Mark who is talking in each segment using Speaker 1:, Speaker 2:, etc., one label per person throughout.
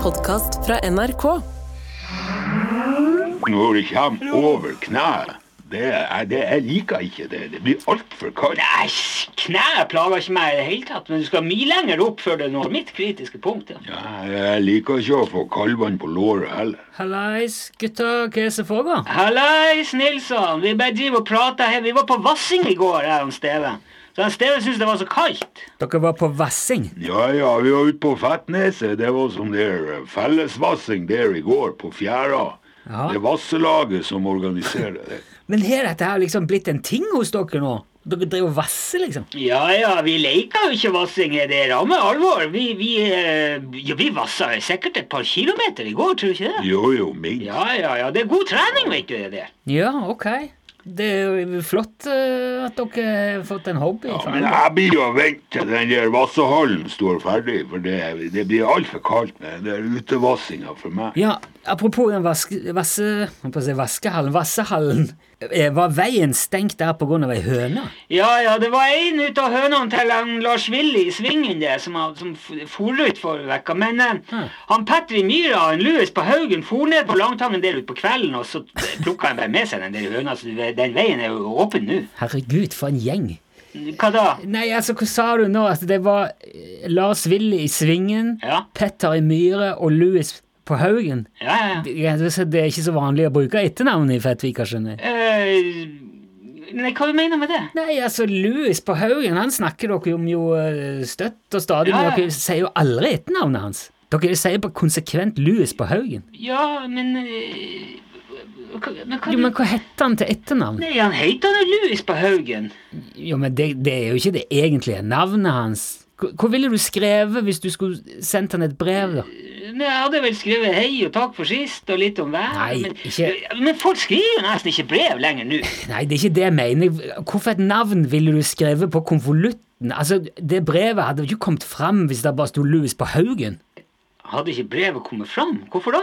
Speaker 1: podkast fra NRK.
Speaker 2: Når det kommer over kneet det er, det, Jeg liker ikke det. Det blir altfor kaldt.
Speaker 3: Æsj, kneet plager ikke meg i det hele tatt, men du skal mye lenger opp før det når mitt kritiske punkt. Ja.
Speaker 2: Ja, jeg liker ikke å få kaldvann på låret heller.
Speaker 4: Hallais, gutta, hva er det som foregår?
Speaker 3: Hallais, Nilsson. Vi bare driver og prater her. Vi var på Vassing i går, jeg og Steven. Så han Steven syntes det var så kaldt.
Speaker 4: Dere var på Vassing.
Speaker 2: Ja, ja, vi var ute på Fettneset. Det var som der eh, fellesvassing der i går, på fjæra.
Speaker 4: Ja.
Speaker 2: Det er vasselaget som organiserer det.
Speaker 4: Men har dette her liksom blitt en ting hos dere nå? Dere driver og vasser, liksom?
Speaker 3: Ja ja, vi leker jo ikke vassing. Det er ramme alvor. Vi, vi, eh, ja, vi vassa sikkert et par kilometer i går, tror du ikke det?
Speaker 2: Jo, jo, minst.
Speaker 3: Ja ja ja, det er god trening, vet du det der.
Speaker 4: Ja, ok. Det er jo flott eh, at dere har fått en hobby.
Speaker 2: Ja,
Speaker 4: for
Speaker 2: men
Speaker 4: alle.
Speaker 2: jeg blir jo å vente til den der vassehallen står ferdig, for det, det blir altfor kaldt med den der utevassinga for meg.
Speaker 4: ja apropos den vaske, vasse, jeg på å si vaskehallen, vassehallen. Eh, Var veien stengt der på grunn av ei høne?
Speaker 3: Ja, ja, det var en ut av hønene til han Lars Willy i Svingen der, som, han- som f- for ut forrige uke. Men eh,
Speaker 4: Hm.
Speaker 3: han Petri Myhra og en Louis på Haugen for ned på Langtangen der ute på kvelden, og så plukka han bare med seg den der høna, så du vet, den veien er jo åpen nå.
Speaker 4: Herregud, for en gjeng.
Speaker 3: Hva da?
Speaker 4: Nei, altså, hva sa du nå? At det var eh, Lars Willy i Svingen,
Speaker 3: Ja.
Speaker 4: Petter i Myhre og Louis på Haugen?
Speaker 3: Ja, ja, ja.
Speaker 4: Ja, det så det er ikke så vanlig å bruke etternavn i Fettvika, skjønner jeg.
Speaker 3: Eh, nei, hva du mener du med det?
Speaker 4: Nei, altså, Louis på Haugen, han snakker dere om jo eh, støtt og stadig, men
Speaker 3: Ja, ja.
Speaker 4: dere sier jo aldri etternavnet hans. Dere sier bare konsekvent Louis på Haugen.
Speaker 3: Ja, men eh, hva- Men hva
Speaker 4: Jo, men hva heter han til etternavn?
Speaker 3: Nei, han heter han Louis på Haugen.
Speaker 4: Jo, men det, det er jo ikke det egentlige navnet hans. Hva hva ville du skrevet hvis du skulle sendt han et brev, da?
Speaker 3: Nei, Jeg hadde vel skrevet 'hei og takk for sist' og litt om været.
Speaker 4: Nei,
Speaker 3: men,
Speaker 4: ikke-
Speaker 3: men folk skriver jo nesten ikke brev lenger nå.
Speaker 4: Nei, det er ikke det jeg mener. Hvorfor et navn ville du skrevet på konvolutten? Altså, det brevet hadde jo ikke kommet fram hvis det bare sto Louis på Haugen.
Speaker 3: Hadde ikke brevet kommet fram? Hvorfor da?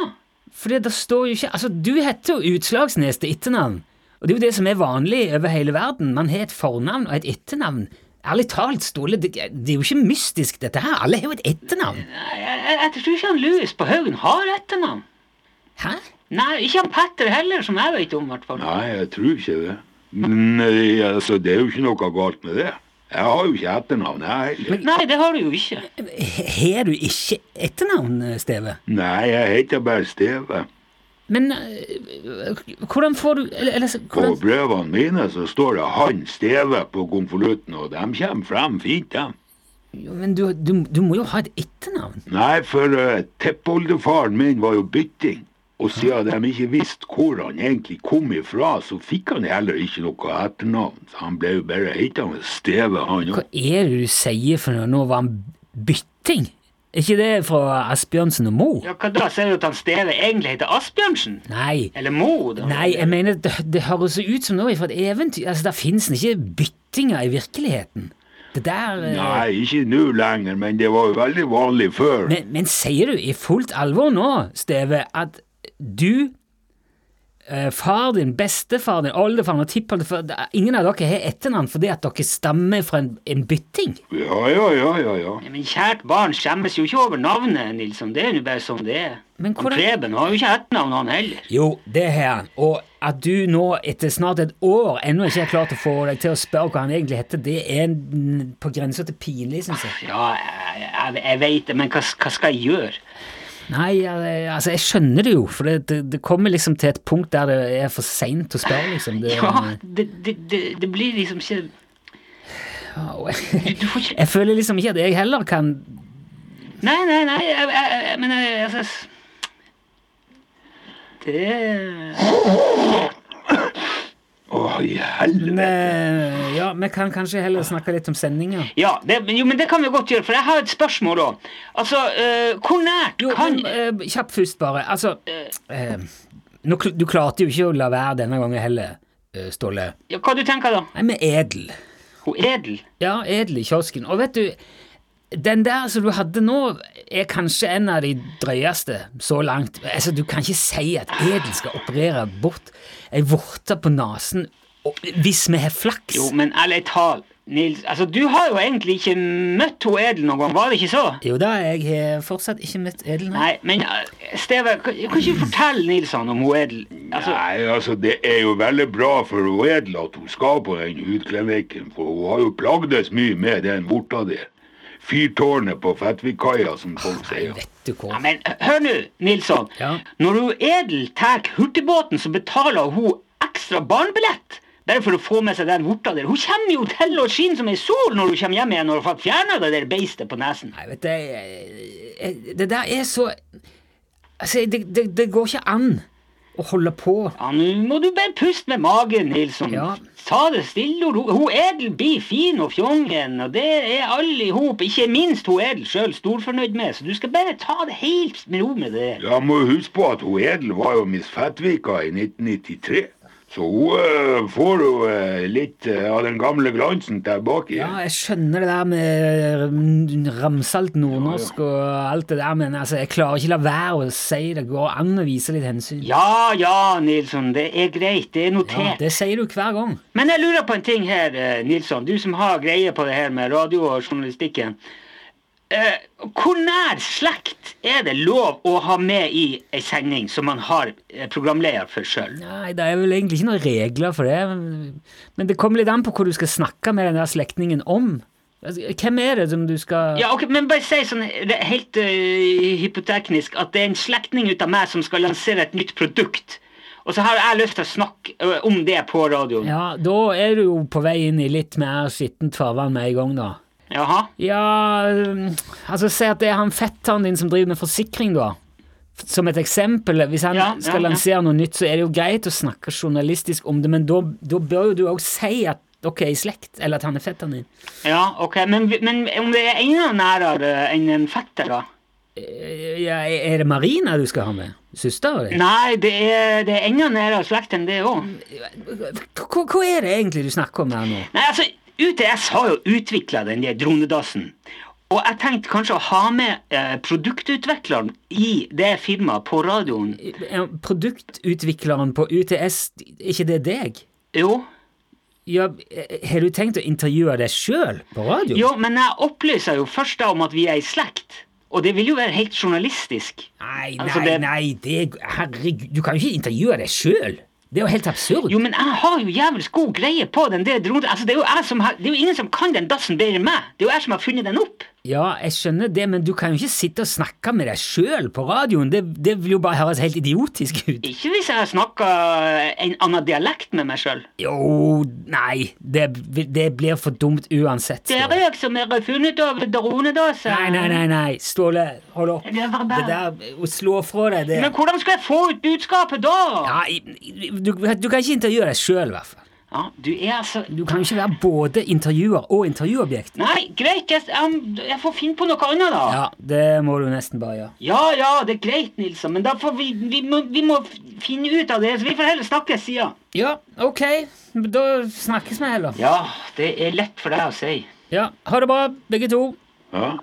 Speaker 4: Fordi det står jo ikke Altså, du heter jo Utslagsnes til etternavn. Og det er jo det som er vanlig over hele verden. Man har et fornavn og et etternavn. Ærlig talt, Ståle, det, det er jo ikke mystisk, dette her. Alle har jo et etternavn.
Speaker 3: Nei, jeg, jeg, jeg tror ikke han Louis på Haugen har etternavn.
Speaker 4: Hæ?
Speaker 3: Nei, ikke han Petter heller, som jeg vet om, i hvert fall.
Speaker 2: Nei, jeg tror ikke det. Men eh, altså, det er jo ikke noe galt med det. Jeg har jo ikke etternavn, jeg heller.
Speaker 3: Nei, det har du jo ikke.
Speaker 4: Har du ikke etternavn, Steve?
Speaker 2: Nei, jeg heter bare Steve.
Speaker 4: Men øh, hvordan får du Eller, eller så-
Speaker 2: På
Speaker 4: hvordan
Speaker 2: brevene mine så står det 'Han Steve' på konvolutten, og de kommer frem fint, de.
Speaker 4: Jo, Men du, du, du må jo ha et etternavn.
Speaker 2: Nei, for uh, tippoldefaren min var jo bytting. Og siden de ikke visste hvor han egentlig kom ifra, så fikk han heller ikke noe etternavn. Så han ble jo bare hetende Steve, han
Speaker 4: Hva
Speaker 2: òg.
Speaker 4: er det du sier for noe? Nå var han bytting? Er ikke det fra Asbjørnsen og Moe?
Speaker 3: Ja, Hva da? Ser du at han Steve egentlig heter Asbjørnsen?
Speaker 4: Nei.
Speaker 3: Eller Mo? Da.
Speaker 4: Nei, jeg mener, det, det høres jo ut som noe fra et eventyr. Altså, Der finnes det ikke byttinger i virkeligheten. Det der eh,
Speaker 2: Nei, ikke nå lenger, men det var jo veldig vanlig før.
Speaker 4: Men, men sier du i fullt alvor nå, Steve, at du, eh, far din, bestefar din, oldefaren og tippoldefaren Ingen av dere har etternavn fordi at dere stammer fra en, en bytting?
Speaker 2: Ja, ja, ja, ja. ja.
Speaker 3: Ja, Men kjært barn skjemmes jo ikke over navnet, Nilsson. Det er jo bare sånn det er.
Speaker 4: Men
Speaker 3: Han
Speaker 4: hvordan-
Speaker 3: Preben har jo ikke etternavn, han heller.
Speaker 4: Jo, det har han. Og at du nå etter snart et år ennå ikke har klart å få deg til å spørre hva han egentlig heter, det er en- på grensa til pinlig, syns jeg.
Speaker 3: Ja, jeg, jeg, jeg veit det, men hva, hva skal jeg gjøre?
Speaker 4: Nei, eh, altså jeg skjønner det jo, for det, det, det kommer liksom til et punkt der det er for seint å spørre, liksom. Det,
Speaker 3: Ja, det, det, det, det blir liksom ikke
Speaker 4: Ja, og jeg,
Speaker 3: Du får ikke
Speaker 4: jeg føler liksom ikke at jeg heller kan
Speaker 3: Nei, nei, nei, jeg, jeg, jeg, men jeg, altså s- Det
Speaker 2: Å, i helvete.
Speaker 4: eh, Ja, vi kan kanskje heller snakke litt om sendinga.
Speaker 3: Ja, det, men- jo, men det kan vi godt gjøre, for jeg har et spørsmål òg. Altså, eh, hvor nært
Speaker 4: Jo,
Speaker 3: kan
Speaker 4: men, eh, kjapp først, bare. Altså eh, nå, kl- Du klarte jo ikke å la være denne gangen heller, eh, Ståle.
Speaker 3: ja, Hva du tenker da?
Speaker 4: Nei, med edel.
Speaker 3: Hun Edel?
Speaker 4: Ja, edel i kiosken. Og vet du, den der som du hadde nå, er kanskje en av de drøyeste så langt. Altså, Du kan ikke si at edel skal operere bort ei vorte på nesen og- hvis vi har flaks.
Speaker 3: Jo, men ærlig talt, Nils, altså du har jo egentlig ikke møtt hun Edel noen gang, var det ikke så?
Speaker 4: Jo da, jeg har fortsatt ikke møtt Edel. Nei.
Speaker 3: Nei, men eh, Steve, kan, kan ikke du fortelle Nilsson om hun Edel? Altså,
Speaker 2: Nei, altså, det er jo veldig bra for hun Edel at hun skal på den hudklinikken, for hun har jo plagdes mye med den vorta der. Fyrtårnet på Fettvikkaia, som folk sier.
Speaker 4: Vet du
Speaker 3: ja,
Speaker 4: hva.
Speaker 3: men eh, hør nå, Nilsson.
Speaker 4: Ja.
Speaker 3: Når hun Edel tar hurtigbåten, så betaler hun ekstra barnebillett. Bare for å få med seg den vorta der. Hun kommer jo til å skinne som ei sol når hun kommer hjem igjen når hun har fjerna det der beistet på nesen.
Speaker 4: Nei, vet du, jeg- jeg- det der er så Altså, det, det, det går ikke an å holde på.
Speaker 3: Ja, nå må du bare puste med magen, Nilsson.
Speaker 4: Ja.
Speaker 3: Ta det stille og ro. Hun Edel blir fin og fjongen, og det er alle i hop, ikke minst hun Edel sjøl, storfornøyd med, så du skal bare ta det helt med ro med det.
Speaker 2: Ja, må huske på at hun Edel var jo Miss Fettvika i 1993. Så hun eh, får jo eh, litt eh, av den gamle glansen tilbake.
Speaker 4: Ja,
Speaker 2: igjen.
Speaker 4: jeg skjønner det der med ramsalt nordnorsk og alt det der, men altså, jeg klarer ikke la være å si det går an å vise litt hensyn.
Speaker 3: Ja ja, Nilsson, det er greit, det er
Speaker 4: Ja,
Speaker 3: notert.
Speaker 4: det sier du hver gang.
Speaker 3: Men jeg lurer på en ting her, eh, Nilsson, du som har greie på det her med radio og journalistikken. Eh, hvor nær slekt er det lov å ha med i ei sending som man har eh, programleder for sjøl?
Speaker 4: Nei, det er vel egentlig ikke noen regler for det. men- Men det kommer litt an på hva du skal snakke med den der slektningen om. Altså, Hvem er det som du skal
Speaker 3: Ja, ok, men bare si sånn det er helt eh, hypoteknisk at det er en slektning ut av meg som skal lansere et nytt produkt. Og så har jeg lyst til å snakke eh, om det på radioen.
Speaker 4: Ja, da er du jo på vei inn i litt mer skittent farvann med en gang, da.
Speaker 3: Jaha?
Speaker 4: Ja, um, altså si at det er han fetteren din som driver med forsikring, da. F- Som et eksempel. Hvis han
Speaker 3: Ja, ja,
Speaker 4: skal
Speaker 3: ja.
Speaker 4: lansere noe nytt, så er det jo greit å snakke journalistisk om det, men da da bør jo du òg si at dere er i slekt, eller at han er fetteren din.
Speaker 3: Ja, ok. Men, vi- men om det er enda nærere enn en fetter, da?
Speaker 4: Eh, Ja, er det Marina du skal ha med? Søstera di?
Speaker 3: Nei, det er, det er enda nærere slekt enn det òg.
Speaker 4: Hva hva er det egentlig du snakker om her nå?
Speaker 3: Nei, altså, UTS har jo utvikla den der dronedassen. Og jeg tenkte kanskje å ha med eh, produktutvikleren i det firmaet på radioen.
Speaker 4: Er Produktutvikleren på UTS, er ikke det deg?
Speaker 3: Jo,
Speaker 4: Ja, eh, har du tenkt å intervjue deg sjøl på radio?
Speaker 3: Jo, men jeg opplyser jo først da om at vi er i slekt. Og det vil jo være helt journalistisk.
Speaker 4: Nei,
Speaker 3: Altså,
Speaker 4: nei,
Speaker 3: det-
Speaker 4: nei, det, herregud, du kan jo ikke intervjue deg sjøl. Det er jo helt absurd.
Speaker 3: Jo, men jeg har jo jævlig god greie på den der dronen. Altså, det er jo jeg som har, det er jo ingen som kan den dassen bedre enn meg. Det er jo jeg som har funnet den opp.
Speaker 4: Ja, jeg skjønner det, men du kan jo ikke sitte og snakke med deg sjøl på radioen. Det, det vil jo bare høres helt idiotisk ut.
Speaker 3: Ikke hvis jeg snakker en annen dialekt med meg sjøl.
Speaker 4: Jo, nei, det, det blir for dumt uansett.
Speaker 3: Det er
Speaker 4: Ståle.
Speaker 3: jeg som har funnet av dronedassen.
Speaker 4: Nei, nei, nei, nei, Ståle, hold opp.
Speaker 3: Det var
Speaker 4: Det
Speaker 3: bare...
Speaker 4: der, å slå fra deg det
Speaker 3: Men hvordan skal jeg få ut budskapet da? Ja,
Speaker 4: ja, i- i- du, du kan ikke intervjue deg sjøl, i hvert fall.
Speaker 3: du er altså...
Speaker 4: Du kan jo ikke være både intervjuer og intervjuobjekt.
Speaker 3: Nei, greit, jeg, jeg- jeg får finne på noe annet da.
Speaker 4: Ja, det må du nesten bare gjøre.
Speaker 3: Ja, ja, det er greit, Nilsson, men da får vi, vi, må, vi må f- finne ut av det, så vi får heller snakkes sida.
Speaker 4: Ja, ok. Da snakkes vi heller.
Speaker 3: Ja, det er lett for deg å si.
Speaker 4: Ja, ha det bra, begge to.
Speaker 2: Ja.